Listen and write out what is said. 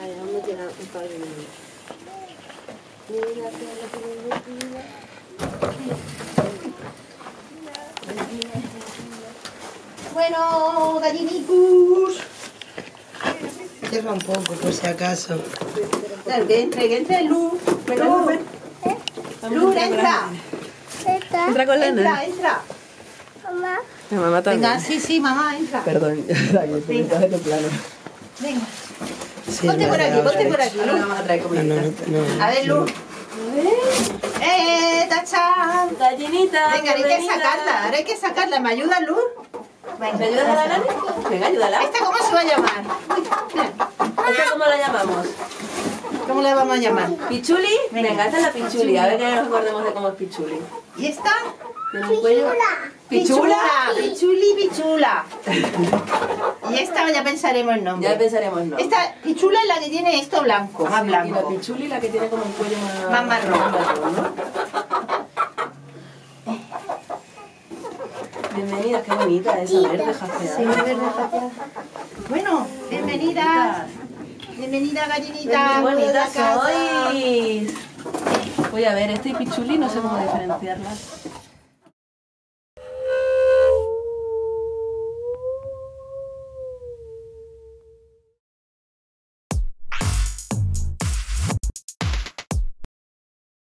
Ay, vamos llegando un par de minutos. Mira, mira, mira, mira. Bueno, gallinicus. Cierra un poco, por si acaso. Claro, que entre, que entre, Lu. Lu, Lu, entra. ¿Eh? Entra con Entra, Lana. entra. Mamá, La mamá también. Venga, sí, sí, mamá, entra. Perdón, la que te metas en el plano. Venga. Sí, Ponte la por de aquí, ahora. ponte por aquí, Lu. No, no, no, no. A ver, Lu. ¡Eh, tachán! Gallinita. Venga, ahora hay que sacarla, ahora hay que sacarla. ¿Me ayuda, Luz? ¿Me ayudas a la Lana? Venga, ayúdala. ¿Esta cómo se va a llamar? Uy, espera, ¿Esta cómo la llamamos? ¿Cómo la vamos a llamar? ¿Pichuli? Venga, esta es la pichuli. A ver que nos acordemos de cómo es pichuli. ¿Y esta? Tiene un cuello... Pichula. ¿Pichula? Pichuli, pichula. Y esta ya pensaremos el Ya nombre. pensaremos, ¿no? Esta pichula es la que tiene esto blanco, más Y la blanco. pichuli la que tiene como un cuello más... Más marrón. ¿no? Bienvenidas, qué bonita esa verde jaceada. Bueno, bienvenidas. Bienvenida, gallinita. Qué Bienvenida a bonitas casa. sois. Voy a ver, este y pichuli no sé cómo diferenciarlas.